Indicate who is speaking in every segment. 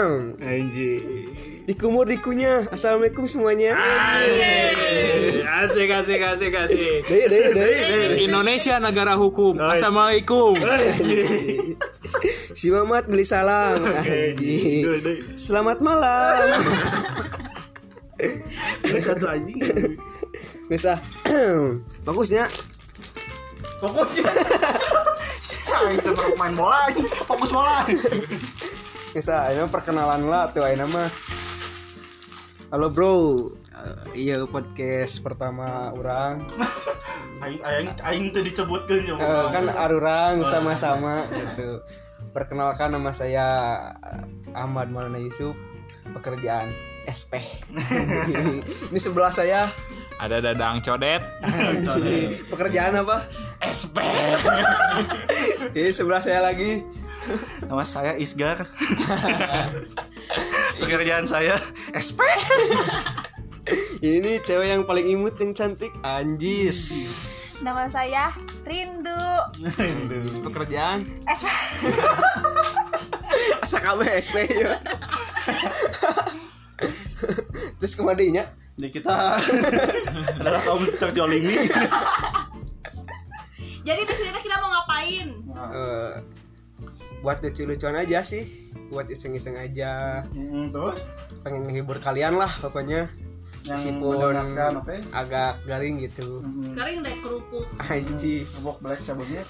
Speaker 1: Anjing.
Speaker 2: Dikumur dikunya. Assalamualaikum semuanya.
Speaker 1: Asik asik asik asik.
Speaker 2: Deh deh deh.
Speaker 3: Indonesia negara hukum. Assalamualaikum.
Speaker 2: Si Mamat beli salam. Anjing.
Speaker 1: gitu,
Speaker 2: Selamat malam.
Speaker 1: Satu anjing.
Speaker 2: Bisa. Bagusnya.
Speaker 1: Fokusnya. Bisa main bola anjing. Fokus bola.
Speaker 2: Bisa, ini mah perkenalan lah tuh ini mah. Halo bro. Eh, iya podcast pertama orang.
Speaker 1: Aing aing aing teu dicebutkeun jeung
Speaker 2: Eh, kan arurang sama-sama gitu. Perkenalkan nama saya eh, Ahmad Maulana Yusuf. Pekerjaan SP. Ini sebelah saya
Speaker 3: Ada dadang codet.
Speaker 2: pekerjaan apa?
Speaker 3: SP.
Speaker 2: Ini sebelah saya lagi.
Speaker 1: Nama saya Isgar. Pekerjaan saya SP.
Speaker 2: Ini cewek yang paling imut yang cantik Anjis.
Speaker 4: Nama saya Rindu. Eh,
Speaker 2: Pekerjaan SP. Asa kabe SP ya. Terus kemadinya
Speaker 1: Jadi kita adalah kaum terjolimi.
Speaker 4: Jadi di sini kita mau ngapain?
Speaker 2: eh, buat lucu-lucuan aja sih, buat iseng-iseng aja,
Speaker 1: Terus
Speaker 2: pengen menghibur kalian lah pokoknya. Meskipun
Speaker 1: mendengarkan, oke. Mm-hmm.
Speaker 2: agak garing gitu.
Speaker 4: Kering deh kerupuk
Speaker 2: Anjis.
Speaker 1: Bok black sabunnya.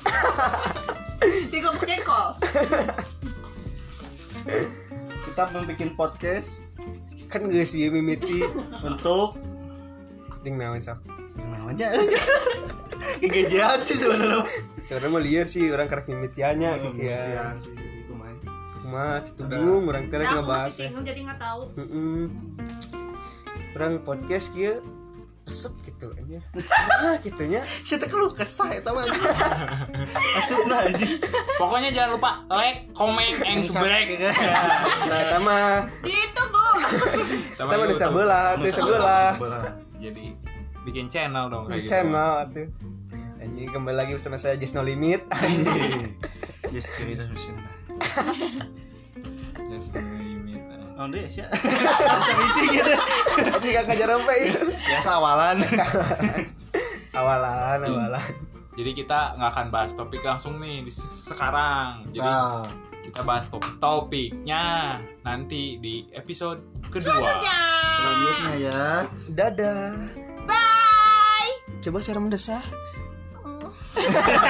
Speaker 4: di kerupuk jengkol.
Speaker 1: Kita membuat podcast
Speaker 2: Kan geus ieu mimiti
Speaker 1: untuk
Speaker 2: jeung naon sok.
Speaker 1: namanya kegejean sih sebenarnya.
Speaker 2: Sebenarnya mah liar sih orang kerek mimitiannya
Speaker 1: Mm-hmm.
Speaker 2: gitu ya.
Speaker 1: Kegejean sih jadi kumaha.
Speaker 2: Mah itu bingung orang teh
Speaker 4: Nah, aku
Speaker 2: ngebahas. ya.
Speaker 4: masih singgung jadi nggak tahu.
Speaker 2: Heeh. Orang podcast kieu resep gitu nya. Ah gitu nya.
Speaker 1: Sia teh keluh kan kesah ya, eta mah. anjing. Maksudna anjing.
Speaker 3: Pokoknya jangan lupa like, comment, and subscribe.
Speaker 2: Eta mah
Speaker 4: Gitu bu.
Speaker 2: eta mah nu sabeula, teu sabeula.
Speaker 3: Jadi bikin channel dong
Speaker 2: Di
Speaker 3: kayak gitu.
Speaker 2: channel atuh. Anjing kembali lagi bersama saya Just No Limit.
Speaker 1: Yes, kita mesin.
Speaker 3: Just the limit.
Speaker 1: Oh, deh, sia. Kita micing gitu.
Speaker 2: Anjing kakak jarempe ieu.
Speaker 1: Biasa awalan.
Speaker 2: Awalan, awalan.
Speaker 3: Jadi kita nggak akan bahas topik langsung nih di sekarang. Jadi
Speaker 1: Nah,
Speaker 3: kita bahas kok topiknya nanti di episode kedua.
Speaker 4: Selanjutnya.
Speaker 1: selanjutnya ya.
Speaker 2: Dadah.
Speaker 4: Bye.
Speaker 2: Coba suara mendesah.
Speaker 4: Mm.